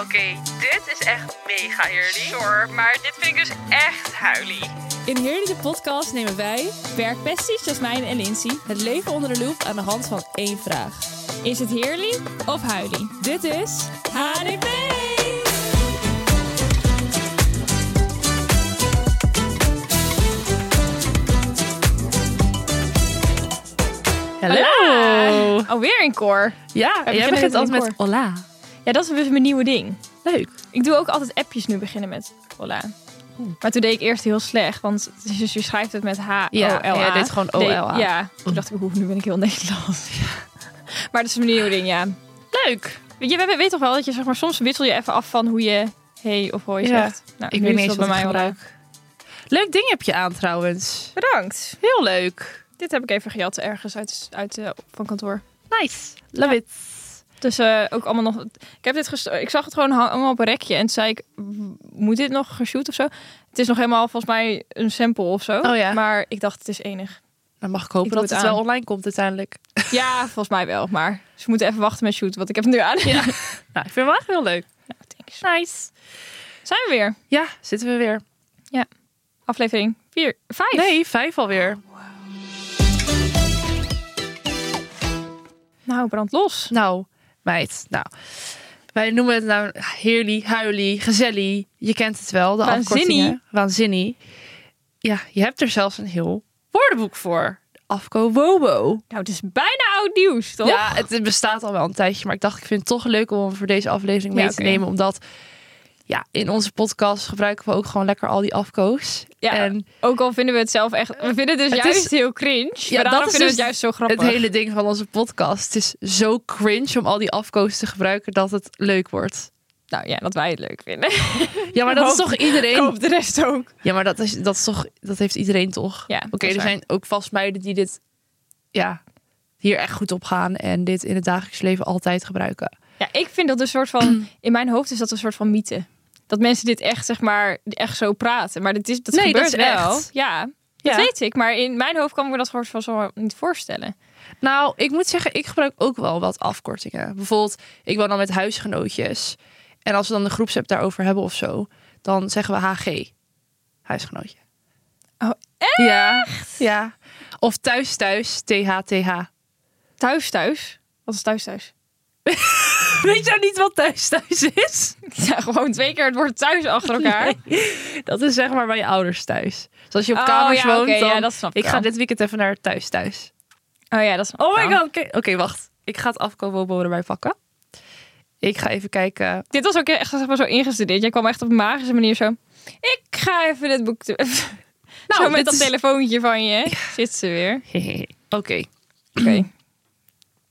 Oké, dit is echt mega eerlijk. Hoor, maar dit vind ik dus echt huilie. In Heerlijke Podcast nemen wij, werkpesties Jasmijn en Lindsay, het leven onder de loep aan de hand van één vraag. Is het heerlijk of huilie? Dit is HDP! Hallo! Alweer in koor. Ja, jij beginnen begint met altijd een met hola. Ja, dat is weer mijn nieuwe ding. Leuk. Ik doe ook altijd appjes nu beginnen met hola. Maar toen deed ik eerst heel slecht, want het is dus je schrijft het met H-O-L-A. Ja, jij deed gewoon O-L-A. Deed- Ja, toen dacht ik, oeh, nu ben ik heel Nederlands. Maar dat is een nieuw ding, ja. Leuk. Je weet, weet toch wel dat je zeg maar, soms wissel je even af van hoe je hey of hoi Ja. zegt. Nou, Ik nu weet is niet eens dat wat ik wel. gebruik. Leuk ding heb je aan trouwens. Bedankt. Heel leuk. Dit heb ik even gejat ergens uit, uit eh, van kantoor. Nice. Love it. Dus eh, ook allemaal nog. Ik heb dit gesto- Ik zag het gewoon hang- allemaal op een rekje en toen zei ik, "W- moet dit nog geshoot of zo? Het is nog helemaal volgens mij een sample of zo. Oh ja. Maar ik dacht, het is enig. Dan mag ik Ik hopen doe dat het het aan. wel online komt uiteindelijk. Ja, volgens mij wel. Maar ze moeten even wachten met shoot, want ik heb het nu aan. Ja. Nou, ik vind hem echt heel leuk. thanks. Nice. Zijn we weer? Ja, zitten we weer. Aflevering 4, 5. Nee, vijf alweer. Nou, brand los. Nou, meid. Nou, wij noemen het nou heerly, huilie, gezellig. Je kent het wel, de Waanzinnie. afkortingen. Waanzinnig. Ja, je hebt er zelfs een heel woordenboek voor. Afko Wobo. Nou, het is bijna oud nieuws, toch? Ja, het, het bestaat al wel een tijdje, maar ik dacht ik vind het toch leuk om hem voor deze aflevering mee Ja, te oké. nemen, omdat ja, in onze podcast gebruiken we ook gewoon lekker al die afko's. Ja, en Ook al vinden we het zelf echt... We vinden het dus Het juist is- heel cringe. maar dat daarom is vinden we dus het juist zo grappig. het hele ding van onze podcast. Het is zo cringe om al die afko's te gebruiken dat het leuk wordt. Nou ja, dat wij het leuk vinden. Ja, maar dat is toch Ik iedereen. hoop de rest ook. Ja, maar dat, is, dat, is toch, dat heeft iedereen toch? Ja, Oké, dat is er waar. zijn ook vast meiden die dit ja, hier echt goed op gaan en dit in het dagelijks leven altijd gebruiken. Ja, ik vind dat een soort Mm. van... In mijn hoofd is dat een soort van mythe. Dat mensen dit echt, zeg maar, echt zo praten. Maar dit is, dat Nee, dat gebeurt is wel. echt. Ja, dat weet ik. Maar in mijn hoofd kan ik me dat soort van zo niet voorstellen. Nou, ik moet zeggen, ik gebruik ook wel wat afkortingen. Bijvoorbeeld, ik woon dan met huisgenootjes. En als we dan de groepsapp daarover hebben of zo, dan zeggen we HG. Huisgenootje. Oh, Ja, ja. Of thuis thuis, THTH. Thuis thuis? Wat is thuis thuis? Weet jij niet wat thuis thuis is? Ja, gewoon twee keer het woord thuis achter elkaar. Dat is zeg maar bij je ouders thuis. Dus als je op Oh, kamers ja, woont, oké, dan... ja, dat snap ik ik ga wel. dit weekend even naar thuis thuis. Oh ja, dat is... Oh my god, oké. Oké, wacht. Ik ga het afkoopbobo erbij pakken. Ik ga even kijken. Dit was ook echt zeg maar, zo ingestudeerd. Jij kwam echt op een magische manier zo... Ik ga even dit boek... te- Nou, zo met dit dat is- telefoontje van je zit ze weer. Oké. Oké.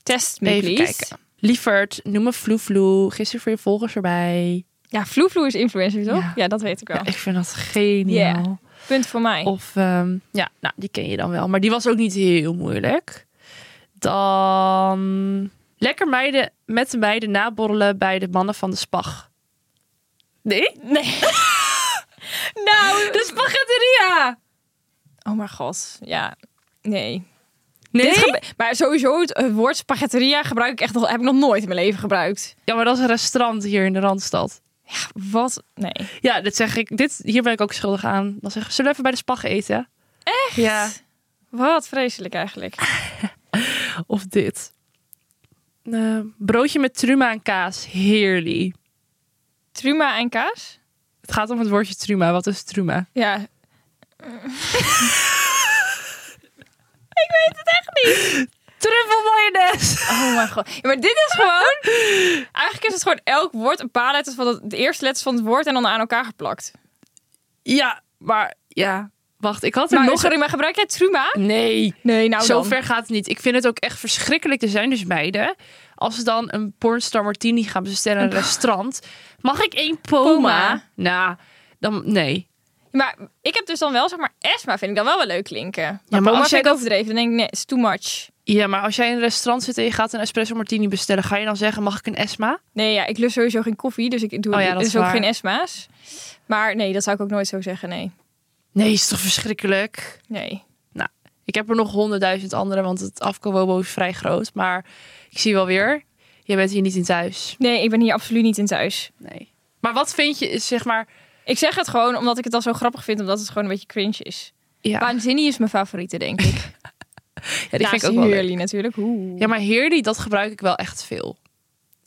Test me, Even please. kijken. Lieverd, noem me Vloevloe. Gisteren voor je volgers erbij. Ja, Vloevloe is influencer, toch? Ja, Ja. dat weet ik wel. Ja, ik vind dat geniaal. Punt voor mij. Of, ehm, ja, nou, die ken je dan wel. Maar die was ook niet heel moeilijk. Dan... Lekker meiden met de meiden naborrelen bij de mannen van de spag. Nee? Nee. nou... De spaghetteria! Oh mijn god. Ja. Nee. Nee? Dit gebe- maar sowieso, het eh, woord spaghetteria gebruik ik echt nog, heb ik nog nooit in mijn leven gebruikt. Ja, maar dat is een restaurant hier in de Randstad. Ja, wat? Nee. Ja, dit zeg ik. Dit, hier ben ik ook schuldig aan. Dan zeggen ze, zullen we even bij de spag eten? Echt? Ja. Wat vreselijk eigenlijk. Of dit. Eh, broodje met truma en kaas. Heerlijk. Truma en kaas? Het gaat om het woordje truma. Wat is truma? Ja. ik weet het echt niet. Truffel mayonaise. Oh mijn god. Ja, maar dit is gewoon... Eigenlijk is het gewoon elk woord een paar letters van het, de eerste letters van het woord en dan aan elkaar geplakt. Ja, maar ja. Wacht, ik had er Maar, nog... sorry, maar gebruik jij truma? Nee, Nee, nou zo dan. ver gaat het niet. Ik vind het ook echt verschrikkelijk. Er zijn dus meiden. Als ze dan een pornstar martini gaan bestellen in een restaurant. Mag ik één poma? Poma. Nou, dan... Nee. Maar ik heb dus dan wel, zeg maar, Esma vind ik dan wel wel leuk klinken. Maar, maar Boma als jij vind ik overdreven. Dan denk ik, nee, it's too much. Ja, maar als jij in een restaurant zit en je gaat een espresso martini bestellen... ga je dan zeggen, mag ik een esma? Nee, ja, ik lust sowieso geen koffie, dus ik doe Oh ja, dat dus is ook waar. geen Esma's. Maar nee, dat zou ik ook nooit zo zeggen, nee. Nee, is toch verschrikkelijk? Nee. Ik heb er nog honderdduizend andere, want het afkowobo is vrij groot. Maar ik zie wel weer. je bent hier niet in thuis. Nee, ik ben hier absoluut niet in thuis. Nee. Maar wat vind je, is zeg maar... Ik zeg het gewoon omdat ik het al zo grappig vind, omdat het gewoon een beetje cringe is. Ja, Waanzinnig is mijn favoriete, denk ik. ja die vind ik ook wel leuk. heerlijk natuurlijk. Oeh. Ja, maar Heerly, dat gebruik ik wel echt veel.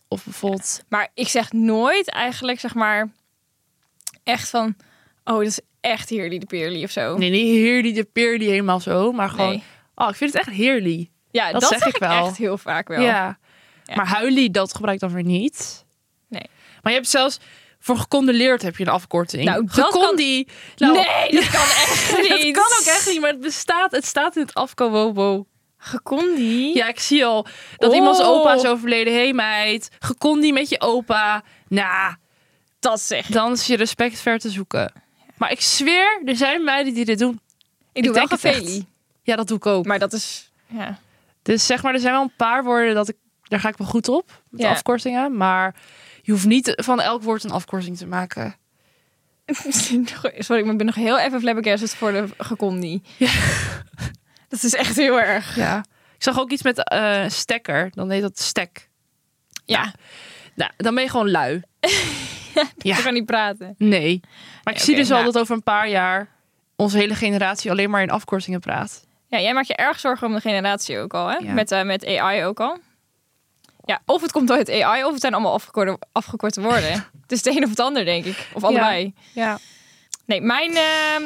Of bijvoorbeeld... Maar ik zeg nooit eigenlijk, zeg maar, echt van... Oh, dat is echt heerly de peerly of zo. Nee, niet Heerly de Peerly helemaal zo, maar gewoon... Nee. Oh, ik vind het echt Heerly. Ja, dat dat, zeg zeg ik wel. echt heel vaak wel. Ja. Ja. Maar huilie, dat gebruik ik dan weer niet. Nee. Maar je hebt zelfs... Voor gecondoleerd heb je een afkorting. Nou, dat kan- Gecondi. Nou, Nee, dat kan echt niet. Dat kan ook echt niet, maar het bestaat. Het staat in het afkowobo. Gekondi? Ja, ik zie al dat Oh. iemands opa is overleden. Hé hey, meid, gekondi met je opa. Nou, Dat zeg ik. dan is je respect ver te zoeken. Maar ik zweer, er zijn meiden die dit doen. Ik doe wel denk het echt. gefeli. Ja, dat doe ik ook. Maar dat is... Ja. Dus zeg maar, er zijn wel een paar woorden dat ik... Daar ga ik wel goed op, met Ja. afkortingen. Maar je hoeft niet van elk woord een afkorting te maken. Sorry, maar ik ben nog heel even flabbergasted voor de gekondi. Dat is echt heel erg. Ja. Ik zag ook iets met eh stekker. Dan heet dat stek. Ja, Nou, dan ben je gewoon lui. ja. ik kan niet praten. Nee. Maar ik Nee, zie oké, dus al nou. dat over een paar jaar onze hele generatie alleen maar in afkortingen praat. Ja, jij maakt je erg zorgen om de generatie ook al, hè? Ja. Met, eh, met AI ook al. Ja, of het komt door het AI, of het zijn allemaal afgekorte, afgekorte woorden. het is het een of het ander, denk ik. Of allebei. Ja. Nee, mijn ehm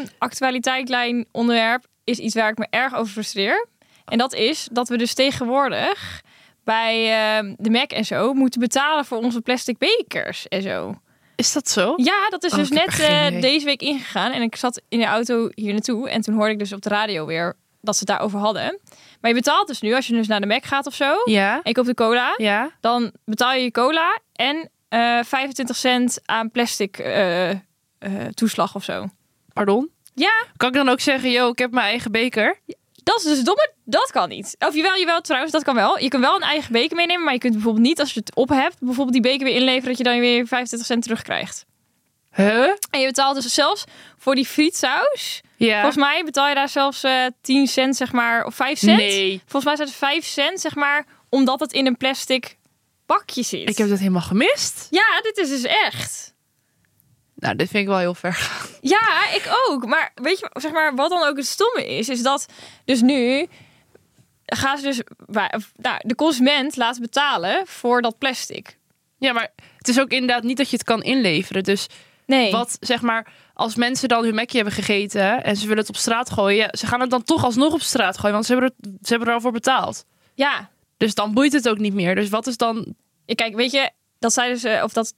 actualiteitlijn onderwerp is iets waar ik me erg over frustreer. En dat is dat we dus tegenwoordig bij ehm, de Mac en zo moeten betalen voor onze plastic bekers en zo. Is dat zo? Ja, dat is Oh, dus ik heb net er geen eh, idee. deze week ingegaan. En ik zat in de auto hier naartoe. En toen hoorde ik dus op de radio weer dat ze het daarover hadden. Maar je betaalt dus nu, als je dus naar de Mac gaat of zo. Ja. En je koopt de cola. Ja. Dan betaal je je cola en eh 25 cent aan plastic eh, eh, toeslag of zo. Pardon? Ja, Kan ik dan ook zeggen, yo, ik heb mijn eigen beker? dat is dus domme. Dat kan niet. Of jawel, jawel, trouwens, dat kan wel. Je kunt wel een eigen beker meenemen, maar je kunt bijvoorbeeld niet, als je het op hebt, bijvoorbeeld die beker weer inleveren, dat je dan weer 25 cent terugkrijgt. Huh? En je betaalt dus zelfs voor die frietsaus. Ja. Volgens mij betaal je daar zelfs eh 10 cent, zeg maar, of 5 cent. Nee. Volgens mij zijn het 5 cent, zeg maar, omdat het in een plastic bakje zit. Ik heb dat helemaal gemist. Ja, dit is dus echt. Nou, dit vind ik wel heel ver. Ja, ik ook. Maar weet je, zeg maar, wat dan ook het stomme is, is dat dus nu gaan ze dus, wa- of, nou, de consument laat betalen voor dat plastic. Ja, maar het is ook inderdaad niet dat je het kan inleveren. Dus Nee. wat, zeg maar, als mensen dan hun mekje hebben gegeten en ze willen het op straat gooien, ja, ze gaan het dan toch alsnog op straat gooien, want ze hebben er, ze hebben er al voor betaald. Ja. Dus dan boeit het ook niet meer. Dus wat is dan Ja, Kijk, weet je, dat zeiden ze, of dat,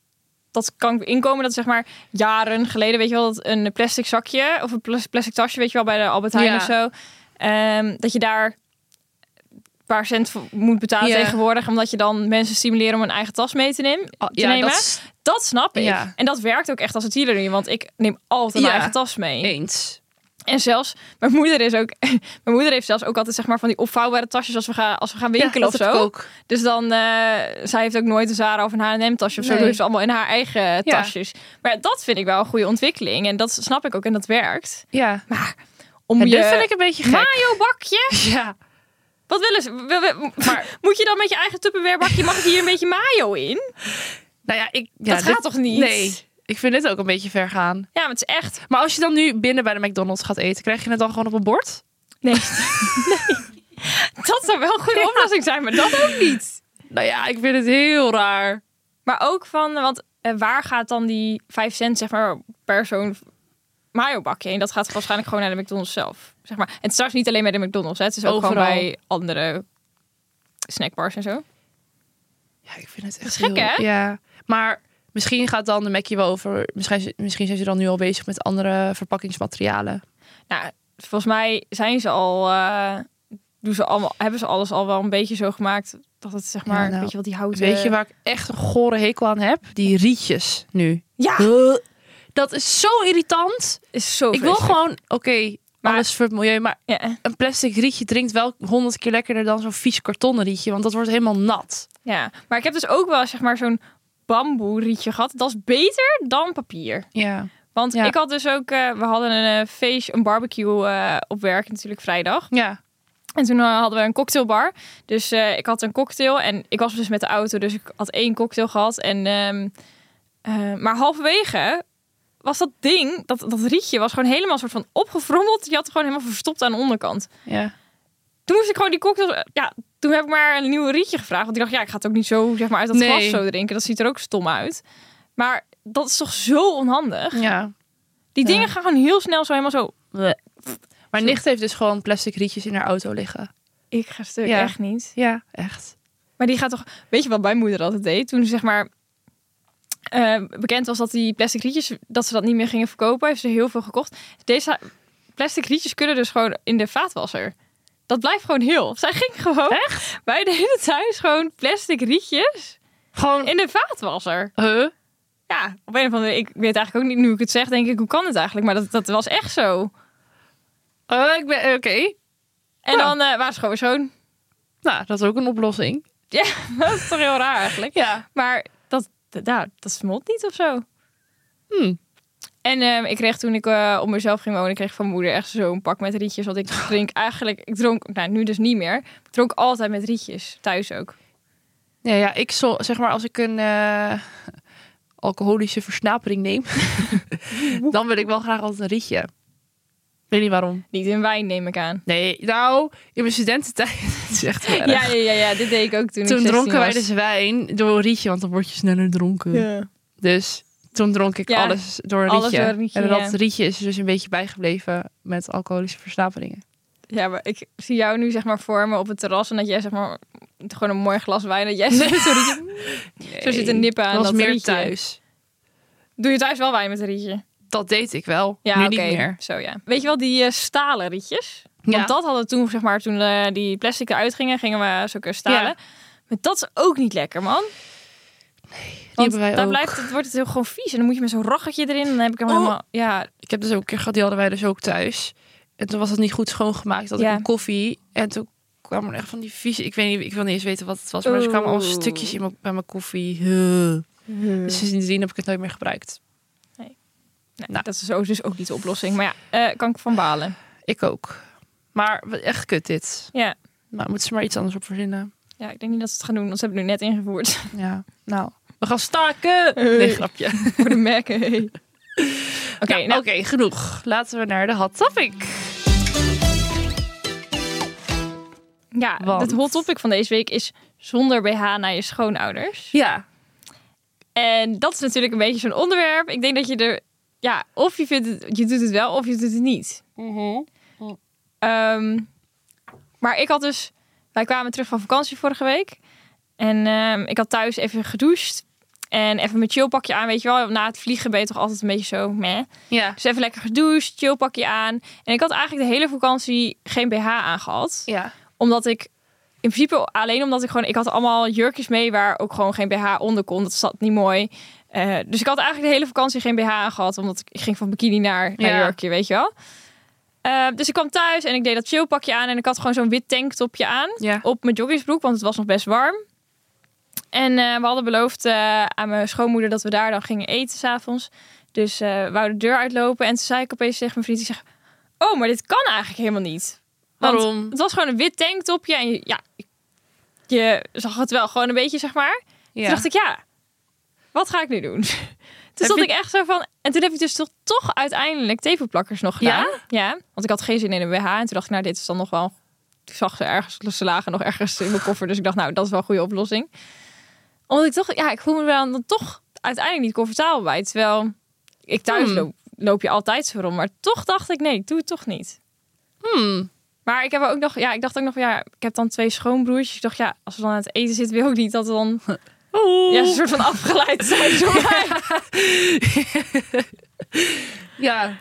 dat kan inkomen, dat zeg maar jaren geleden, weet je wel, dat een plastic zakje of een plas- plastic tasje, weet je wel, bij de Albert Heijn Ja. of zo, ehm, dat je daar een paar cent voor moet betalen Ja. tegenwoordig, omdat je dan mensen stimuleren om een eigen tas mee te, nemen. Ah, te nemen. dat is Oh, Dat snap ik. Ja. En dat werkt ook echt als het nu, want ik neem altijd Ja. mijn eigen tas mee. eens. En zelfs, mijn moeder is ook, mijn moeder heeft zelfs ook altijd zeg maar van die opvouwbare tasjes als we gaan, als we gaan winkelen of heb ik zo. ook. Dus dan, eh, zij heeft ook nooit een Zara of een H&M tasje of zo. Nee. Dat heeft ze allemaal in haar eigen tasjes. Maar ja, dat vind ik wel een goede ontwikkeling. En dat snap ik ook en dat werkt. Ja. Om En je dit vind ik een beetje gek. mayo bakje, Ja. wat willen ze? Wil- wil- moet je dan met je eigen Tupperware bakje, mag hier een beetje mayo in? Nou ja, ik... Ja, dat gaat toch niet? Nee. Ik vind dit ook een beetje ver gaan. Ja, maar het is echt... Maar als je dan nu binnen bij de McDonald's gaat eten, krijg je het dan gewoon op een bord? Nee. Dat zou wel een goede oplossing zijn, maar dat ook niet. Nou ja, ik vind het heel raar. Maar ook van, want eh, waar gaat dan die 5 cent zeg maar, per zo'n mayo bakje heen? Dat gaat waarschijnlijk gewoon naar de McDonald's zelf. Zeg maar. En het is straks niet alleen bij de McDonald's, hè. het is ook Overal. gewoon bij andere snackbars en zo. Ja, ik vind het echt is gek, heel- hè? Ja. Maar misschien gaat dan de Mackie wel over... Misschien, misschien zijn ze dan nu al bezig met andere verpakkingsmaterialen. Nou, volgens mij zijn ze al, eh, doen ze allemaal, hebben ze alles al wel een beetje zo gemaakt dat het zeg maar, Ja, nou, weet je wel, die houten... Weet je waar ik echt een gore hekel aan heb? Die rietjes nu. Ja, Dat is zo irritant. is Ah. zo Ik wil vreselijk. gewoon... Oké, Maar- alles voor het milieu, maar... Ja, een plastic rietje drinkt wel honderd keer lekkerder dan zo'n vies kartonnen rietje. Want dat wordt helemaal nat. ja, maar ik heb dus ook wel zeg maar zo'n bamboe rietje gehad. Dat is beter dan papier. Ja. Want Ja. ik had dus ook, eh, we hadden een eh, feest, een barbecue eh, op werk natuurlijk vrijdag. Ja. En toen eh, hadden we een cocktailbar. Dus eh, ik had een cocktail en ik was dus met de auto. Dus ik had één cocktail gehad. En, ehm, eh, maar halverwege was dat ding, dat, dat rietje, was gewoon helemaal soort van opgefrommeld. Die had het gewoon helemaal verstopt aan de onderkant. Ja. Toen moest ik gewoon die cocktail... Ja, toen heb ik maar een nieuw rietje gevraagd. Want ik dacht, ja, ik ga het ook niet zo zeg maar, uit dat Nee. glas zo drinken. Dat ziet er ook stom uit. Maar dat is toch zo onhandig. ja. Die Ja. dingen gaan gewoon heel snel zo helemaal zo... Maar nicht heeft dus gewoon plastic rietjes in haar auto liggen. Ik ga stuk, Ja. echt niet. Ja, echt. Maar die gaat toch. Weet je wat mijn moeder altijd deed? Toen ze zeg maar. eh, bekend was dat die plastic rietjes. dat ze dat niet meer gingen verkopen. Heeft ze heel veel gekocht. Deze plastic rietjes kunnen dus gewoon in de vaatwasser. Dat blijft gewoon heel. Zij ging gewoon. Echt? Bij de hele thuis gewoon plastic rietjes. Gewoon. in de vaatwasser. Huh? Ja, op een of andere. Ik weet eigenlijk ook niet. nu ik het zeg, denk ik. hoe kan het eigenlijk? Maar dat, dat was echt zo. Eh, ik ben. Oké. En Ja. dan eh, waren ze gewoon schoon. Nou, dat is ook een oplossing. Ja, dat is toch heel raar eigenlijk. Ja. Maar dat, dat, nou, dat smolt niet of zo. Hm. En ehm, ik kreeg toen ik eh, op mezelf ging wonen, kreeg ik van mijn moeder echt zo'n pak met rietjes. Want ik drink eigenlijk, ik dronk, nou nu dus niet meer, ik dronk altijd met rietjes, thuis ook. Ja, ja, ik zo, zeg maar als ik een eh, alcoholische versnapering neem, dan wil ik wel graag altijd een rietje. Ik weet niet waarom. Niet in wijn neem ik aan. Nee, nou, in mijn studententijd, het is echt heel Ja, erg. ja, ja, ja, dit deed ik ook toen. toen ik 16 dronken wij was. dus wijn door een rietje, want dan word je sneller dronken. Ja. Dus toen dronk ik Ja, alles door een alles rietje. door een rietje, en ja. dat rietje is er dus een beetje bijgebleven met alcoholische versnaperingen. Ja, maar ik zie jou nu zeg maar voor me op het terras en dat jij zeg maar gewoon een mooi glas wijn, dat jij zo, zo'n rietje- zo zit een nippen aan Dat dat, eh, was meer rietje. thuis. Doe je thuis wel wijn met een rietje? Dat deed ik wel, Ja, nu oké. niet meer. Zo ja. Weet je wel die eh, stalen rietjes? Ja. Want dat hadden we toen, zeg maar, toen eh, die plastic eruit gingen, gingen we zulke stalen. Maar dat is ook niet lekker, man. Want hebben wij daar ook. blijft het, wordt het heel gewoon vies. En dan moet je met zo'n raggetje erin. Dan heb ik hem Oh. helemaal. Ja, ik heb dus ook een keer gehad, die hadden wij dus ook thuis. En toen was het niet goed schoongemaakt. Dat Ja. ik een koffie. En toen kwam er echt van die vieze. Ik weet niet, ik wil niet eens weten wat het was. Maar er kwamen al Oeh. stukjes in mijn, bij mijn koffie. Huh. Hmm. Dus sindsdien heb ik het nooit meer gebruikt. Nee, Nou. dat is ook, dus ook niet de oplossing. Maar ja, eh, kan ik van balen. Ik ook. Maar wat- echt kut dit. Ja. Nou, moeten ze maar iets anders op verzinnen. ja, ik denk niet dat ze het gaan doen, want ze hebben het nu net ingevoerd. Ja, nou. We gaan staken! Hey. Nee, grapje. Oké, Voor de merken. hey. Oké, nou, nou, oké, genoeg. Laten we naar de hot topic. ja, want- het hot topic van deze week is zonder BH naar je schoonouders. Ja. En dat is natuurlijk een beetje zo'n onderwerp. Ik denk dat je er, ja, of je vindt het, je doet het wel of je doet het niet. Ehm, maar ik had dus, wij kwamen terug van vakantie vorige week. En ehm, ik had thuis even gedoucht. En even mijn chillpakje aan, weet je wel. Na het vliegen ben je toch altijd een beetje zo, meh. Ja. Dus even lekker gedoucht, chillpakje aan. En ik had eigenlijk de hele vakantie geen BH aangehad Ja. omdat ik in principe alleen omdat ik gewoon ik had allemaal jurkjes mee waar ook gewoon geen BH onder kon. Dat zat niet mooi. Eh, dus ik had eigenlijk de hele vakantie geen BH aan gehad, omdat ik, ik ging van bikini naar, naar Ja. jurkje, weet je wel. Eh, dus ik kwam thuis en ik deed dat chillpakje aan en ik had gewoon zo'n wit tanktopje aan Ja. op mijn joggingsbroek, want het was nog best warm. En eh, we hadden beloofd eh, aan mijn schoonmoeder dat we daar dan gingen eten s'avonds. Dus eh we wouden de deur uitlopen en toen zei ik opeens tegen mijn vriend, ik zeg, oh, maar dit kan eigenlijk helemaal niet. Want Waarom? het was gewoon een wit tanktopje en je, ja, je zag het wel gewoon een beetje, zeg maar. Ja. Toen dacht ik, ja, wat ga ik nu doen? Toen stond je- ik echt zo van... En toen heb ik dus toch, toch uiteindelijk tapeplakkers nog gedaan. Ja? want ik had geen zin in een BH. En toen dacht ik, nou, dit is dan nog wel... Ik zag ze ergens, ze lagen nog ergens in mijn koffer. Dus ik dacht, nou, dat is wel een goede oplossing. Omdat ik toch, ja, ik voel me wel dan toch uiteindelijk niet comfortabel bij. Terwijl ik thuis Hmm. loop, loop je altijd zo rond. Maar toch dacht ik, nee, ik doe het toch niet. Hmm. Maar ik heb ook nog, ja, ik dacht ook nog, ja, ik heb dan twee schoonbroertjes. Ik dacht, ja, als we dan aan het eten zitten, wil ik niet dat we dan Oeh. ja, een soort van afgeleid zijn door mij. Ja.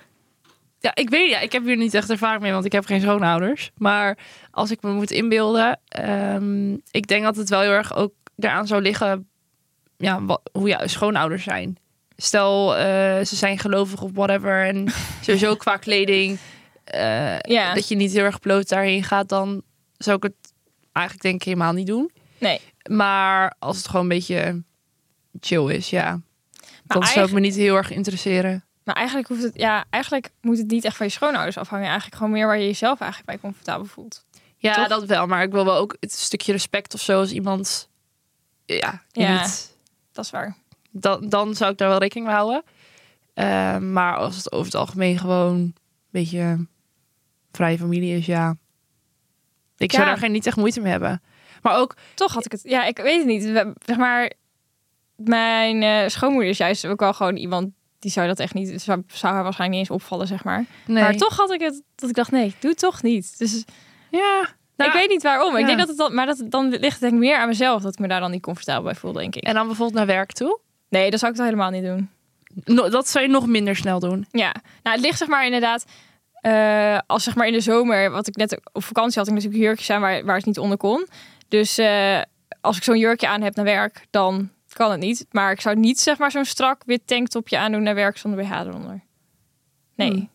Ja, ik weet ja, ik heb hier niet echt ervaring mee, want ik heb geen schoonouders. Maar als ik me moet inbeelden, ehm, ik denk dat het wel heel erg ook daaraan zou liggen ja, wa- hoe je schoonouders zijn. Stel, eh, ze zijn gelovig of whatever. En sowieso qua kleding, eh, Ja. dat je niet heel erg bloot daarheen gaat, dan zou ik het eigenlijk denk ik helemaal niet doen. Nee. Maar als het gewoon een beetje chill is, ja, dan zou ik me niet heel erg interesseren. Maar eigenlijk, hoeft het, ja, eigenlijk moet het niet echt van je schoonouders afhangen. Eigenlijk gewoon meer waar je jezelf eigenlijk bij comfortabel voelt. Ja, Toch? dat wel. Maar ik wil wel ook het stukje respect of zo als iemand. Ja, die Ja. niet. Dat is waar. Dan, dan zou ik daar wel rekening mee houden. Eh, maar als het over het algemeen gewoon een beetje vrije familie is, ja. Ik zou Ja. daar geen niet echt moeite mee hebben. Maar ook, Toch had ik het. Ja, ik weet het niet. We- Zeg maar, mijn eh, schoonmoeder is juist ook wel gewoon iemand die zou dat echt niet. Zou, zou haar waarschijnlijk niet eens opvallen, zeg maar. nee. Maar toch had ik het dat ik dacht, nee, doe het toch niet. Dus Ja. Nou, ik weet niet waarom. Ik ja. denk dat het dan, maar dat dan ligt het denk ik meer aan mezelf dat ik me daar dan niet comfortabel bij voel, denk ik. En dan bijvoorbeeld naar werk toe. Nee, dat zou ik dat helemaal niet doen. No- dat zou je nog minder snel doen. Ja, nou het ligt zeg maar inderdaad. eh, als zeg maar in de zomer, wat ik net op vakantie had, ik natuurlijk jurkjes aan waar, waar het niet onder kon. Dus eh, als ik zo'n jurkje aan heb naar werk, dan kan het niet. Maar ik zou niet zeg maar zo'n strak wit tanktopje aandoen naar werk zonder BH eronder. Nee. Hmm.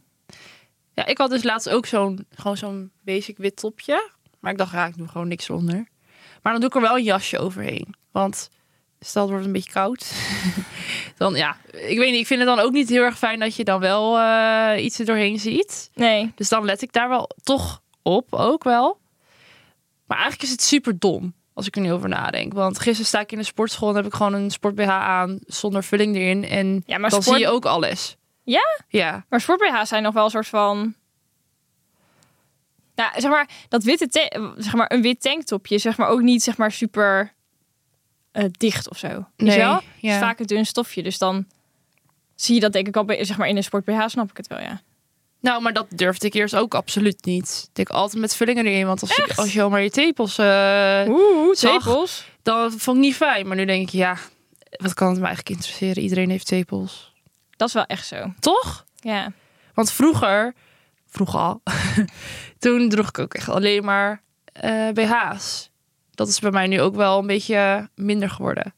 Ja, ik had dus laatst ook zo'n gewoon zo'n basic wit topje. Maar ik dacht, ja, ik doe gewoon niks onder. Maar dan doe ik er wel een jasje overheen. Want stel het wordt een beetje koud. dan ja, ik weet niet. Ik vind het dan ook niet heel erg fijn dat je dan wel eh, iets er doorheen ziet. Nee. Dus dan let ik daar wel toch op, ook wel. Maar eigenlijk is het super dom als ik er nu over nadenk. Want gisteren sta ik in de sportschool en heb ik gewoon een sport BH aan zonder vulling erin. En Ja, maar dan sport- zie je ook alles. Ja? Ja. Maar sport BH's zijn nog wel een soort van. Nou, zeg maar, dat witte ta- zeg maar, een wit tanktopje is zeg maar ook niet zeg maar super eh, dicht of zo. Weet Nee, je wel? Het ja. is vaak een dun stofje, dus dan zie je dat denk ik al bij, zeg maar in een sport BH snap ik het wel, ja. Nou, maar dat durfde ik eerst ook absoluut niet. Ik altijd met vullingen erin. Want als, je, als je al maar je tepels... eh, Oeh, zag. tepels. dan vond ik niet fijn. Maar nu denk ik, ja, wat kan het me eigenlijk interesseren? Iedereen heeft tepels. Dat is wel echt zo. Toch? Ja. Want vroeger... Vroeger al. toen droeg ik ook echt alleen maar eh, BH's. Dat is bij mij nu ook wel een beetje minder geworden.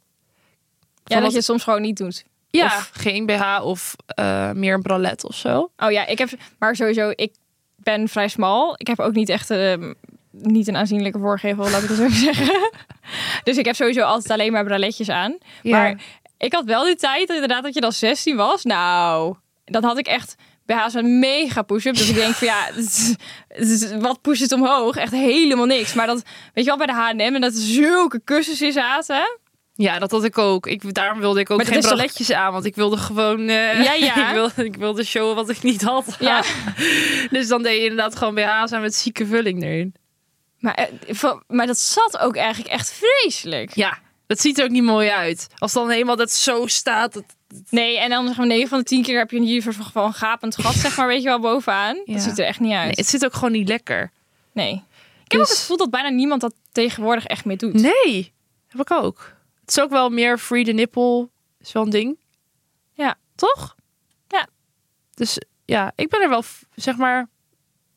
Ja, dat wat- je het soms gewoon niet doet. Ja. Of- geen BH of eh, meer een bralette of zo. Oh ja, ik heb, maar sowieso, ik ben vrij smal. Ik heb ook niet echt ehm, niet een aanzienlijke voorgevel, laat ik het zo even zeggen. Dus ik heb sowieso altijd alleen maar braletjes aan. Ja. Maar ik had wel die tijd, inderdaad, dat je dan 16 was. Nou, dat had ik echt BH's een mega push-up. Dus ik denk van ja, het is- het is- wat pusht het omhoog? Echt helemaal niks. Maar dat, weet je wel, bij de H&M en dat er zulke kussens in zaten. Ja, dat had ik ook. Ik, daarom wilde ik ook Maar dat geen is toch- braletjes aan, want ik wilde gewoon... eh, Ja, ja. ik, wilde, ik wilde showen wat ik niet had. Ja. Dus dan deed je inderdaad gewoon BH's aan met zieke vulling erin. Maar, eh, van- maar dat zat ook eigenlijk echt vreselijk. Ja, dat ziet er ook niet mooi uit. Als dan helemaal dat zo staat. Dat... Nee, en dan zeg maar 9 van de 10 keer heb je een soort van gapend gat, zeg maar, weet je wel, bovenaan. Ja. Dat ziet er echt niet Nee, uit. het zit ook gewoon niet lekker. Nee. Ik heb ook Dus- het gevoel dat bijna niemand dat tegenwoordig echt meer doet. Nee, heb ik ook. Het is ook wel meer free the nipple. Is wel een ding. Ja. Toch? Ja. Dus ja, ik ben er wel, v- zeg maar...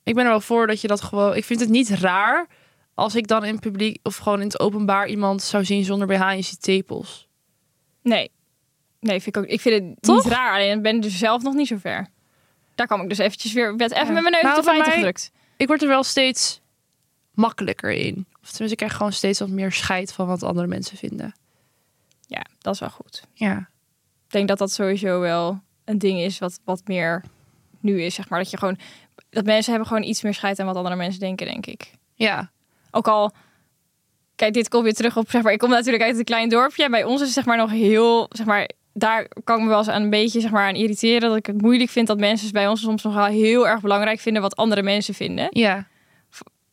Ik ben er wel voor dat je dat gewoon... Ik vind het niet raar als ik dan in het publiek... of gewoon in het openbaar iemand zou zien zonder BH en je ziet tepels. Nee. Nee, vind ik ook. Ik vind het Toch? niet raar, alleen ik ben dus zelf nog niet zo ver. Daar kwam ik dus eventjes weer, werd even Ja. met mijn neus Nou, op de voor feiten mij- gedrukt. Ik word er wel steeds makkelijker in. Of tenminste, ik krijg gewoon steeds wat meer scheid van wat andere mensen vinden. Ja, dat is wel goed. Ja. Ik denk dat dat sowieso wel een ding is wat, wat meer nu is, zeg maar. Dat je gewoon, dat mensen hebben gewoon iets meer scheid aan wat andere mensen denken, denk ik. Ja. Ook al, kijk, dit komt weer terug op, zeg maar, ik kom natuurlijk uit een klein dorpje. En bij ons is het zeg maar nog heel, zeg maar, daar kan ik me wel eens aan een beetje zeg maar, aan irriteren. Dat ik het moeilijk vind dat mensen dus bij ons soms nog wel heel erg belangrijk vinden wat andere mensen vinden. Ja.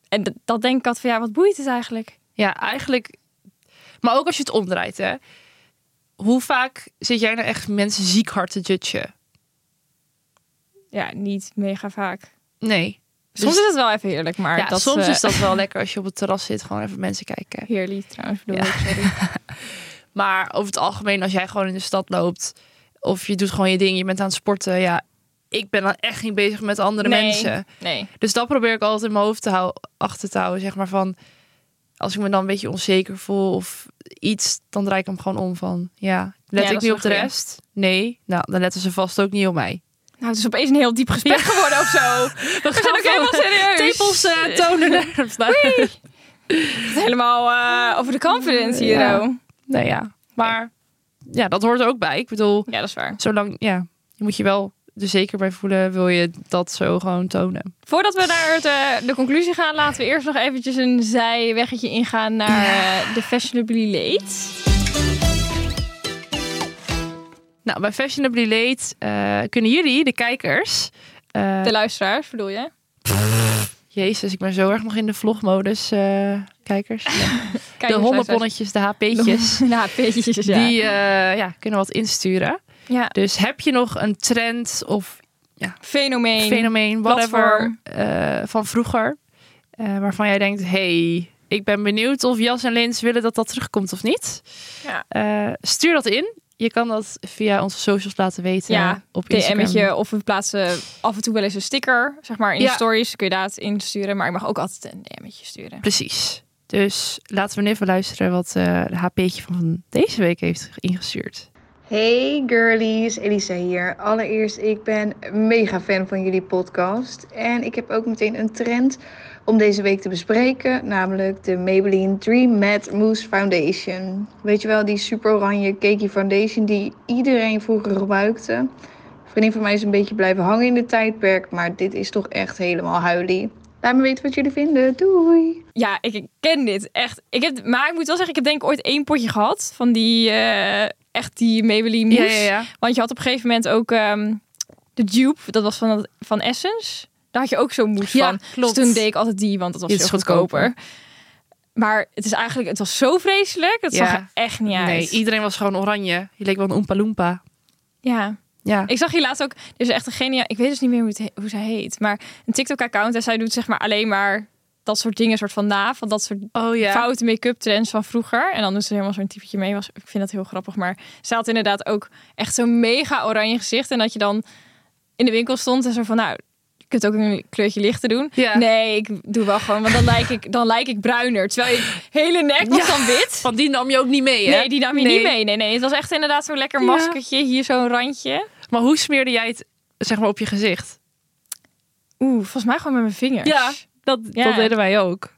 En dat, dat denk ik altijd van, ja, wat boeit het eigenlijk? Ja, eigenlijk... Maar ook als je het omdraait, hè. Hoe vaak zit jij nou echt mensen ziek hard te judgen? Ja, niet mega vaak. Nee. Dus Soms is het wel even heerlijk, maar ja, dat soms eh, is dat wel lekker als je op het terras zit, gewoon even mensen kijken. heerlijk trouwens. Bedoel Ja. ik, sorry. Maar over het algemeen, als jij gewoon in de stad loopt of je doet gewoon je ding, je bent aan het sporten, ja, ik ben dan echt niet bezig met andere Nee. mensen. Nee. Dus dat probeer ik altijd in mijn hoofd te hou- achter te houden, zeg maar van als ik me dan een beetje onzeker voel of iets, dan draai ik hem gewoon om van, ja, let Ja, ik dat is niet een op de goeie. rest? Nee, nou, dan letten ze vast ook niet op mij. Nou, het is opeens een heel diep gesprek geworden of zo. We We zijn ook helemaal serieus. tepels eh, tonen. Oei. Helemaal eh over de confidence hier. Ja. oh. nou ja, maar ja, dat hoort er ook bij. Ik bedoel, ja, dat is waar. zolang, ja, je moet je wel er zeker bij voelen, wil je dat zo gewoon tonen. Voordat we naar het, eh, de conclusie gaan, laten we eerst nog eventjes een zijweggetje ingaan naar eh, de Fashionably Late. Nou, bij Fashionably Late eh, kunnen jullie, de kijkers... eh, De luisteraars, bedoel je? Jezus, ik ben zo erg nog in de vlogmodus, eh, kijkers. Kijk, de hondenbonnetjes, de HP'tjes. Ja, peetjes, ja. Die eh, ja, kunnen wat insturen. ja. Dus heb je nog een trend of Fenomeen. fenomeen, whatever, platform. eh, van vroeger... eh, waarvan jij denkt, hey, ik ben benieuwd of Jas en Lins willen dat dat terugkomt of niet. Ja. Eh, stuur dat in. Je kan dat via onze socials laten weten. Ja, eh, op Instagram. DM'tje of we plaatsen af en toe wel eens een sticker, zeg maar in Ja. de stories. Kun je daar het insturen, maar ik mag ook altijd een DM'tje sturen. Precies. Dus laten we nu even luisteren wat eh, de HP'tje van deze week heeft ingestuurd. Hey girlies, Elisa hier. Allereerst, ik ben mega fan van jullie podcast. En ik heb ook meteen een trend om deze week te bespreken, namelijk de Maybelline Dream Matte Mousse Foundation. Weet je wel, die super oranje cakey foundation die iedereen vroeger gebruikte. Een vriendin van mij is een beetje blijven hangen in dit tijdperk, maar dit is toch echt helemaal huilie. Laat me weten wat jullie vinden. Doei! Ja, ik ken dit echt. Ik heb, maar ik moet wel zeggen, ik heb denk ik ooit één potje gehad van die eh, echt die Maybelline mousse. Want je had op een gegeven moment ook ehm, de dupe, dat was van, dat- van Essence. Daar had je ook zo'n mousse Ja, van. klopt. Dus toen deed ik altijd die, want dat was Dit veel is goedkoper. goedkoper. Maar het is eigenlijk, het was zo vreselijk. Het Ja. zag er echt niet uit. Nee, iedereen was gewoon oranje. Je leek wel een Oompa Loompa. ja. Ja. Ik zag hier laatst ook, er is echt een geniaal, ik weet dus niet meer hoe, het he- hoe zij heet, maar een TikTok-account en zij doet zeg maar alleen maar dat soort dingen, soort van na, van dat soort Oh ja. foute make-up trends van vroeger. En dan doet ze helemaal zo'n typetje mee. Was, ik vind dat heel grappig, maar ze had inderdaad ook echt zo'n mega oranje gezicht. En dat je dan in de winkel stond en zo van, nou, je kunt ook een kleurtje lichter doen. Ja. Nee, ik doe wel gewoon, want dan lijk ik, dan lijk ik bruiner. Terwijl je hele nek was dan wit. Van die nam je ook niet mee, hè? Nee, die nam je Nee. niet mee. Nee, nee, het was echt inderdaad zo'n lekker Ja. maskertje. Hier zo'n randje. Maar hoe smeerde jij het, zeg maar, op je gezicht? Oeh, volgens mij gewoon met mijn vingers. dat, dat deden wij ook.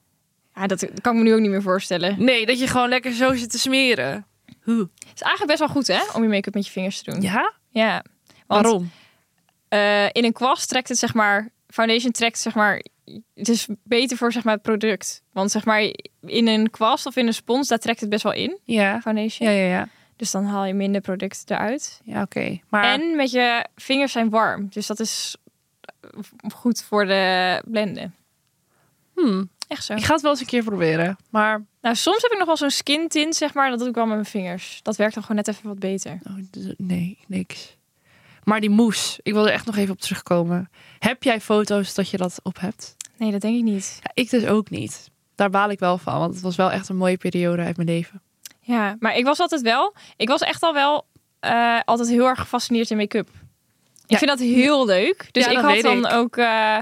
Ja, dat kan ik me nu ook niet meer voorstellen. Nee, dat je gewoon lekker zo zit te smeren. Hoe? Het is eigenlijk best wel goed, hè? Om je make-up met je vingers te doen. Ja? Ja. Want, Waarom? eh, in een kwast trekt het, zeg maar... Foundation trekt, zeg maar... Het is beter voor, zeg maar, het product. Want, zeg maar, in een kwast of in een spons... daar trekt het best wel in, Ja. foundation. Ja, ja, ja. Dus dan haal je minder product eruit. Ja, oké. Maar En met je vingers zijn warm. Dus dat is eh, goed voor de blenden. hmm, Echt zo. ik ga het wel eens een keer proberen. Maar Nou, soms heb ik nog wel zo'n skin tint, zeg maar. Dat doe ik wel met mijn vingers. Dat werkt dan gewoon net even wat beter. Oh, d- nee, niks. Maar die moes, ik wil er echt nog even op terugkomen. Heb jij foto's dat je dat op hebt? Nee, dat denk ik niet. Ja, ik dus ook niet. Daar baal ik wel van, want het was wel echt een mooie periode uit mijn leven. Ja, maar ik was altijd wel... Ik was echt al wel eh, altijd heel erg gefascineerd in make-up. Ik Ja. vind dat heel leuk. Dus Ja, ik dat had weet dan ik. ook... eh,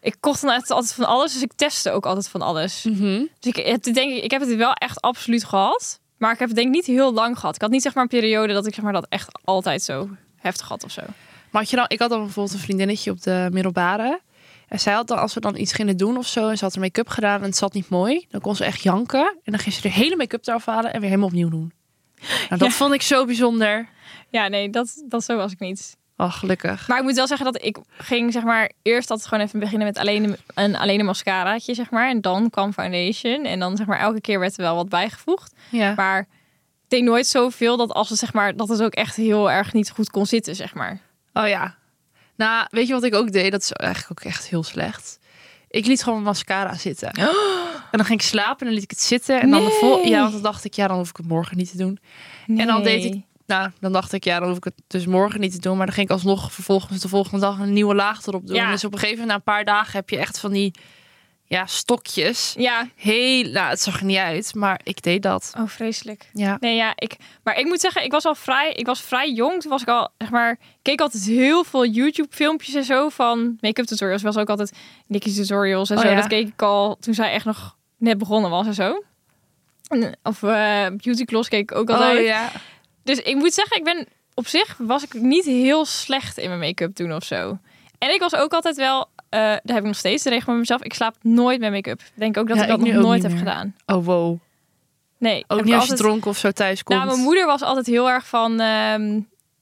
ik kocht dan echt altijd van alles, dus ik testte ook altijd van alles. Mhm. Dus ik, het, denk, ik ik heb het wel echt absoluut gehad. Maar ik heb het denk ik niet heel lang gehad. Ik had niet zeg maar een periode dat ik zeg maar dat echt altijd zo heftig had of zo. Maar had je dan, ik had dan bijvoorbeeld een vriendinnetje op de middelbare. En zij had dan, als we dan iets gingen doen of zo, en ze had er make-up gedaan en het zat niet mooi, dan kon ze echt janken. En dan ging ze de hele make-up eraf halen en weer helemaal opnieuw doen. Nou, dat Ja. vond ik zo bijzonder. Ja, nee, dat, dat zo was ik niet. Oh, gelukkig. Maar ik moet wel zeggen dat ik ging zeg maar eerst altijd gewoon even beginnen met alleen een, een alleen een mascaraatje zeg maar en dan kwam foundation en dan zeg maar elke keer werd er wel wat bijgevoegd. Ja. Maar ik deed nooit zoveel dat als het zeg maar dat het ook echt heel erg niet goed kon zitten zeg maar. Oh ja. Nou, weet je wat ik ook deed? Dat is eigenlijk ook echt heel slecht. Ik liet gewoon mijn mascara zitten. En dan ging ik slapen en dan liet ik het zitten. En dan de vol. Nee. Ja, want dan dacht ik, ja, dan hoef ik het morgen niet te doen. En dan deed ik. Nou, dan dacht ik, ja, dan hoef ik het dus morgen niet te doen. Maar dan ging ik alsnog vervolgens de volgende dag een nieuwe laag erop doen. Ja. Dus op een gegeven moment, na een paar dagen, heb je echt van die ja, stokjes. Ja. Heel, nou, het zag er niet uit, maar ik deed dat. Oh vreselijk. Ja. Nee ja, ik. Maar ik moet zeggen, ik was al vrij. Ik was vrij jong. Toen was ik al zeg maar. ik keek altijd heel veel YouTube filmpjes en zo van make-up tutorials. Was ook altijd Nicky's tutorials en Oh zo. ja. Dat keek ik al toen zij echt nog net begonnen was en zo. En, Of eh, beauty gloss keek ik ook altijd. Oh, ja. Dus ik moet zeggen, ik ben op zich was ik niet heel slecht in mijn make-up doen of zo. En ik was ook altijd wel. eh daar heb ik nog steeds de regel met mezelf. Ik slaap nooit met make-up. Ik Denk ook dat Ja, ik dat ik nu nog ook nooit niet heb meer. gedaan. Oh, wow. Nee. Ook heb niet ik als je altijd- dronken of zo thuis komt. nou, mijn moeder was altijd heel erg van ehm,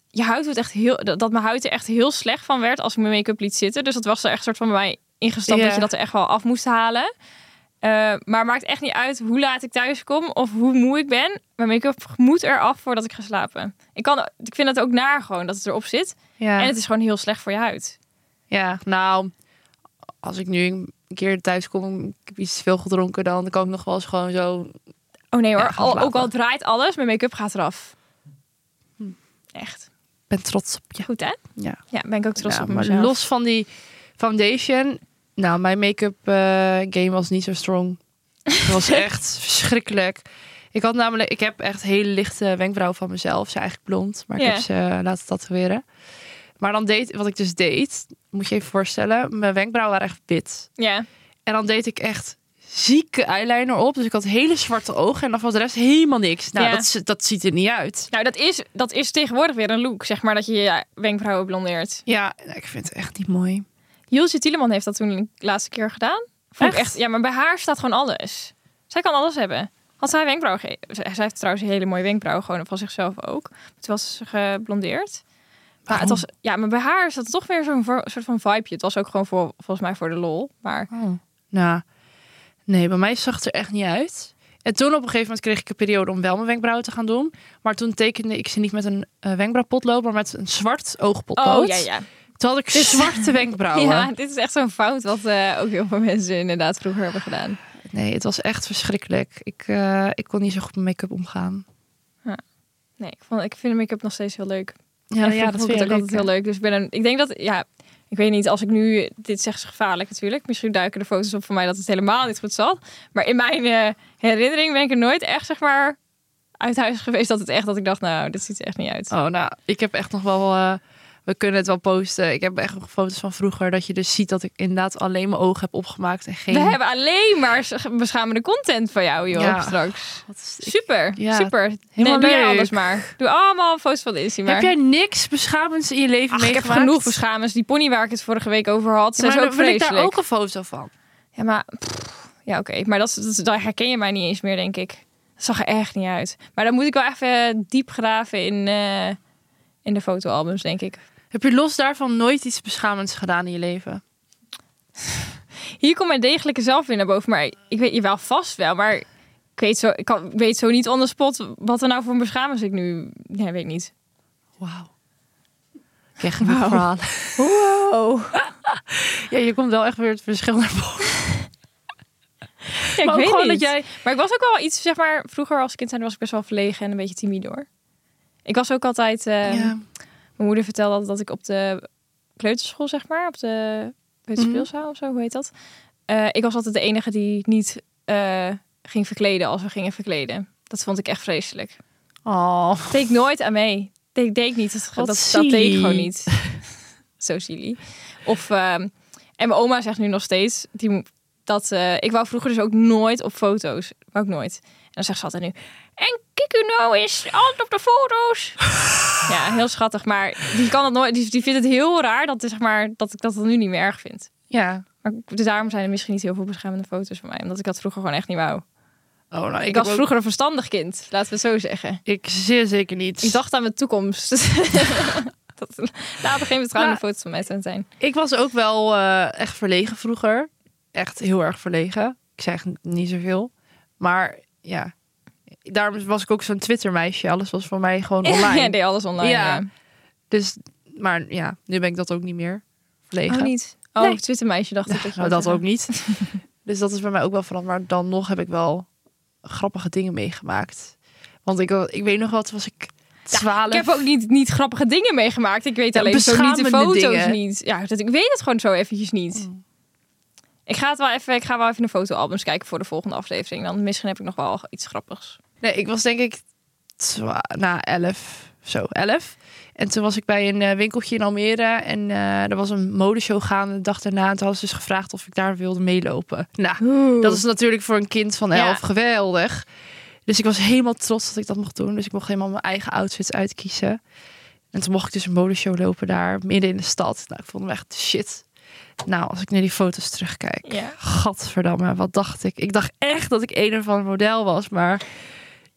je huid wordt echt heel, dat, dat mijn huid er echt heel slecht van werd als ik mijn make-up liet zitten. Dus dat was er echt soort van bij mij ingestapt Ja. dat je dat er echt wel af moest halen. Eh, maar het maakt echt niet uit hoe laat ik thuis kom of hoe moe ik ben. Mijn make-up moet eraf voordat ik ga slapen. Ik, kan, ik vind dat ook naar gewoon dat het erop zit. Ja. En het is gewoon heel slecht voor je huid. ja, nou, als ik nu een keer thuis kom, ik heb iets te veel gedronken, dan kan ik nog wel eens gewoon zo... Oh nee hoor, Ja, gaan al, slapen. ook al draait alles, mijn make-up gaat eraf. Echt. ben trots op je. Goed hè? Hm. Ja. Ja, ben ik ook trots Ja, op maar mezelf. los van die foundation. Nou, mijn make-up eh, game was niet zo strong. Het was echt verschrikkelijk. Ik had namelijk, ik heb echt hele lichte wenkbrauwen van mezelf. Ze zijn eigenlijk blond, maar Ja. ik heb ze eh, laten tatoeëren. Maar dan deed, wat ik dus deed, moet je je even voorstellen, mijn wenkbrauwen waren echt wit. Ja. En dan deed ik echt zieke eyeliner op. Dus ik had hele zwarte ogen en dan was de rest helemaal niks. Nou, Ja. dat, is- dat ziet er niet uit. Nou, dat is, dat is tegenwoordig weer een look, zeg maar, dat je je wenkbrauwen blondeert. Ja, ik vind het echt niet mooi. Julesje Tieleman heeft dat toen de laatste keer gedaan. Vond ik Echt? echt? Ja, maar bij haar staat gewoon alles. Zij kan alles hebben. Had zij wenkbrauwen... ge- Zij zij heeft trouwens een hele mooie wenkbrauw, gewoon van zichzelf ook. Toen was ze geblondeerd. Maar, het was, ja, maar bij haar zat er toch weer zo'n vo- soort van vibeje. Het was ook gewoon voor, volgens mij voor de lol. Maar Oh. Nou, nee, bij mij zag het er echt niet uit. En toen op een gegeven moment kreeg ik een periode om wel mijn wenkbrauwen te gaan doen. Maar toen tekende ik ze niet met een eh, wenkbrauwpotlood, maar met een zwart oogpotlood. Oh ja, ja. Toen had ik zwarte wenkbrauwen. Ja, dit is echt zo'n fout wat eh, ook heel veel mensen inderdaad vroeger hebben gedaan. Nee, het was echt verschrikkelijk. Ik, eh, ik kon niet zo goed met make-up omgaan. Nee, ik, vond, ik vind make-up nog steeds heel leuk. Ja, en vroeger vond ik het ook altijd heel leuk. Dus ik ben een, ik denk dat, ja, ik weet niet, als ik nu dit zeg, is gevaarlijk natuurlijk. Misschien duiken de foto's op van mij dat het helemaal niet goed zat. Maar in mijn eh, herinnering ben ik er nooit echt, zeg maar, uit huis geweest dat het echt, dat ik dacht, nou, dit ziet er echt niet uit. Oh, nou, ik heb echt nog wel. eh, we kunnen het wel posten. Ik heb echt nog foto's van vroeger. Dat je dus ziet dat ik inderdaad alleen mijn ogen heb opgemaakt. En geen. We hebben alleen maar s- beschamende content van jou, joh, Ja. straks. Wat is- ik- Super, ja, super. helemaal nee, doe jij leuk. anders maar. Doe allemaal foto's van de Insta maar. Heb jij niks beschamends in je leven Ach, ik heb meegemaakt? genoeg beschamens. Die pony waar ik het vorige week over Ja, had, zijn maar ze dan ook wil ik vreselijk. daar ook een foto van. Ja, maar... pff, ja, oké. Maar dat, is- dat, is- daar herken je mij niet eens meer, denk ik. Dat zag er echt niet uit. Maar dan moet ik wel even diep graven in, eh, in de fotoalbums, denk ik. Heb je los daarvan nooit iets beschamends gedaan in je leven? Hier komt mijn degelijke zelf weer naar boven. Maar ik weet je wel vast wel, maar... Ik weet, zo, ik, kan, ik weet zo niet on the spot wat er nou voor beschamens ik nu... Ja, weet ik niet. Wauw. Ik krijg een verhaal. Oh. Ja, je komt wel echt weer het verschil naar boven. Ja, ik Maar ook weet gewoon niet. dat jij- Maar ik was ook wel iets, zeg maar... Vroeger als kind zijn was ik best wel verlegen en een beetje timide, hoor. Ik was ook altijd... Ehm, eh, Mijn moeder vertelde altijd dat ik op de kleuterschool, zeg maar, op de peuterspeelzaal of zo, hoe heet dat? Eh, ik was altijd de enige die niet eh, ging verkleden als we gingen verkleden. Dat vond ik echt vreselijk. Oh, Deed ik nooit aan mee. Deed, deed ik niet. Dat, Wat dat, dat deed ik silly. gewoon niet. Zo silly. Of, ehm, en mijn oma zegt nu nog steeds, die, mo- dat, eh, ik wou vroeger dus ook nooit op foto's. Wou ik nooit. En dan zegt ze altijd nu, en kijk u nou eens, altijd op de foto's. ja, heel schattig. Maar die, kan dat nooit, die, die vindt het heel raar dat, zeg maar, dat ik dat dan nu niet meer erg vind. ja. Maar ik- dus daarom zijn er misschien niet heel veel beschermende foto's van mij. Omdat ik dat vroeger gewoon echt niet wou. Oh, nou, ik, Ik heb was ook- vroeger een verstandig kind, laten we het zo zeggen. Ik zeer zeker niet. Ik dacht aan mijn toekomst. dat later geen betrouwende Maar- foto's van mij zijn zijn. Ik was ook wel eh, echt verlegen vroeger. Echt heel erg verlegen. Ik zeg niet zoveel. Maar ja, daarom was ik ook zo'n Twitter-meisje. Alles was voor mij gewoon online. Ja, deed alles online. Ja. Oh, Ja. Dus, maar ja, nu ben ik dat ook niet meer. Verlegen. Oh, niet. Oh, Nee. Twittermeisje dacht ik. Dat, je Nou, wou dat ook niet. dus dat is bij mij ook wel veranderd. Maar dan nog heb ik wel grappige dingen meegemaakt. Want ik, ik weet nog wel, toen was ik zeggen. 12. Ik heb ook niet, niet grappige dingen meegemaakt. Ik weet Ja, alleen zo niet de beschamende foto's dingen. Oh. niet. Ja, dat, ik weet het gewoon zo eventjes niet. Ik ga, het wel even, ik ga wel even de fotoalbums kijken voor de volgende aflevering. Dan misschien heb ik nog wel iets grappigs. Nee, ik was denk ik twa- na elf, zo elf. En toen was ik bij een eh, winkeltje in Almere en eh, er was een modeshow gaande de dag daarna. En toen hadden ze dus gevraagd of ik daar wilde meelopen. Nou, dat is natuurlijk voor een kind van Ja. elf geweldig. Dus ik was helemaal trots dat ik dat mocht doen. Dus ik mocht helemaal mijn eigen outfits uitkiezen. En toen mocht ik dus een modeshow lopen daar, midden in de stad. Nou, ik vond hem echt shit. Nou, als ik naar die foto's terugkijk. Ja. Gadverdamme, wat dacht ik? Ik dacht echt dat ik een of ander model was, maar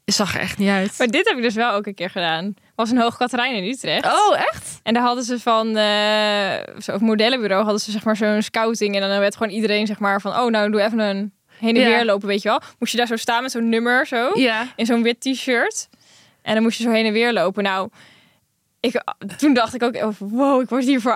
zag er echt niet uit. Maar dit heb ik dus wel ook een keer gedaan. Was een Hoog Katerijn in Utrecht. Oh, echt? En daar hadden ze van, eh zo'n modellenbureau, hadden ze zeg maar zo'n scouting. En dan werd gewoon iedereen zeg maar van, oh nou doe even een heen en Ja. weer lopen, weet je wel. Moest je daar zo staan met zo'n nummer zo, Ja. in zo'n wit t-shirt. En dan moest je zo heen en weer lopen. Nou, ik, toen dacht ik ook, oh, wow, ik word hiervoor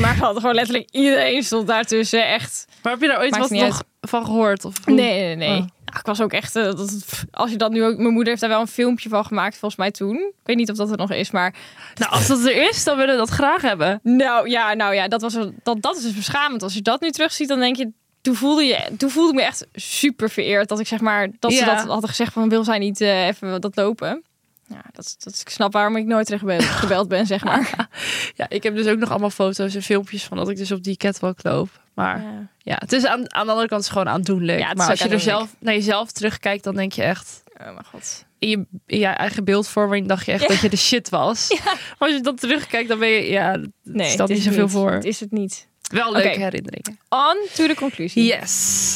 maar ze hadden gewoon letterlijk iedereen stond daartussen, echt. Maar heb je daar ooit Maakt wat niet nog van gehoord? Of hoe? Nee, nee, nee. Oh. Ja, ik was ook echt, eh, dat, pff, als je dat nu ook, mijn moeder heeft daar wel een filmpje van gemaakt, volgens mij toen. Ik weet niet of dat er nog is, maar Nou, als dat er is, dan willen we dat graag hebben. Nou ja, nou ja, dat, was, een- dat, dat is dus beschamend. Als je dat nu terugziet, dan denk je. Toen voelde, je, toen voelde ik me echt super vereerd dat ik zeg maar dat ze Ja. dat hadden gezegd van wil zij niet eh, even dat lopen. Ja, dat, dat, ik snap waarom ik nooit terug ben, gebeld ben, zeg maar. Ja, ik heb dus ook nog allemaal foto's en filmpjes van dat ik dus op die catwalk loop. Maar ja, Ja. het is aan, aan de andere kant is het gewoon aandoenlijk. Ja, het is maar ook als je er aandoenlijk. zelf naar jezelf terugkijkt, dan denk je echt... Oh mijn god. In je, in je eigen beeldvorming dacht je echt Ja. dat je de shit was. Maar als je dat terugkijkt, dan ben je... Ja, nee, staat niet zoveel voor. Het is het niet. Wel leuke Oké. herinneringen. On to de conclusie. Yes.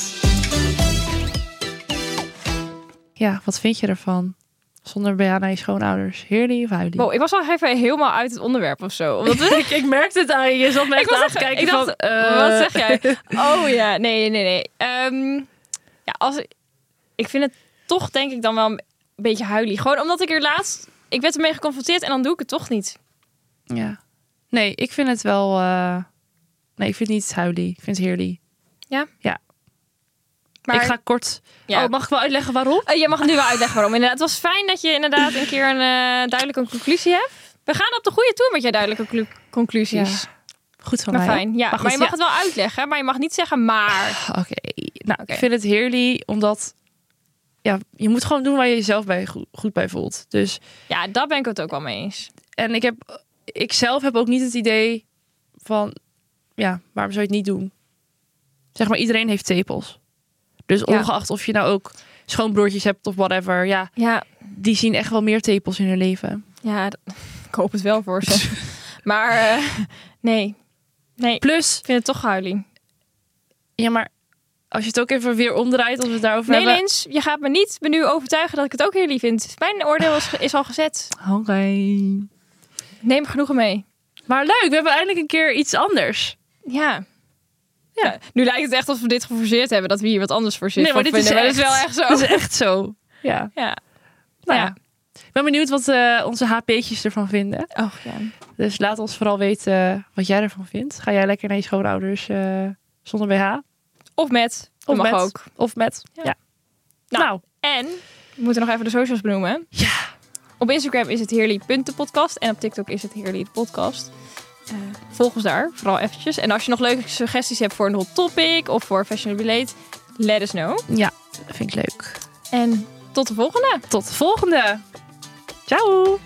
Ja, wat vind je ervan? Zonder BH naar je schoonouders. Heerlijk of huilie? Wow, ik was al even helemaal uit het onderwerp of zo. Omdat ik, ik merkte het aan je. Je zat me Ik was echt- ik dacht, eh, eh, Wat zeg jij? Oh ja, nee, nee, nee. Ehm, ja, als, ik vind het toch denk ik dan wel een beetje huilie. Gewoon omdat ik er laatst... Ik werd ermee geconfronteerd en dan doe ik het toch niet. Ja. Nee, ik vind het wel... eh, Nee, ik vind het niet huilie. Ik vind het heerlijk. Maar Ik ga kort... Ja. Oh, mag ik wel uitleggen waarom? Eh, je mag nu wel uitleggen waarom. Inderdaad, het was fijn dat je inderdaad een keer een eh, duidelijke conclusie hebt. We gaan op de goede toer met je duidelijke clu- conclusies. Goed van maar mij. Nou, fijn. Ja. Maar, goed, je mag ja. het wel uitleggen, maar je mag niet zeggen maar. Oké. Nou, Oké. ik vind het heerlijk, omdat... Ja, je moet gewoon doen waar je jezelf bij goed, goed bij voelt. Dus Ja, daar ben ik het ook wel mee eens. en ik heb ik zelf heb ook niet het idee van ja, waarom zou je het niet doen? Zeg maar, iedereen heeft tepels. Dus Ja. ongeacht of je nou ook schoonbroertjes hebt of whatever, ja, Ja, die zien echt wel meer tepels in hun leven. Ja, d- ik hoop het wel voor ze. maar eh, nee. Nee, ik Plus, vind het toch huiling. ja, maar als je het ook even weer omdraait, als we het daarover Nee, hebben. Lins, je gaat me niet me nu overtuigen dat ik het ook heel lief vind. Mijn oordeel is, is al gezet. Oké. Neem genoegen mee. Maar leuk, we hebben eindelijk een keer iets anders. Ja. Ja. nu lijkt het echt alsof we dit geforceerd hebben, dat we hier wat anders voor zitten. nee, maar dit is, vinden, maar dat is wel echt Dit zo. is echt zo. Ja. Oh. Ja. Nou Ja. ja. Ik ben benieuwd wat eh, onze HP'tjes ervan vinden. Oh, ja. Dus laat ons vooral weten eh, wat jij ervan vindt. Ga jij lekker naar je schoonouders eh, zonder BH? Of met. Of Of mag met? ook. Of met? Ja. Ja. Nou. Nou. En, we moeten nog even de socials benoemen. Ja. Op Instagram is het heerly.podcast en op TikTok is het heerly podcast. Eh, volg ons daar, vooral eventjes. En als je nog leuke suggesties hebt voor een hot topic of voor fashion relate, let us know. Ja, dat vind ik leuk. En tot de volgende! Tot de volgende. Ciao.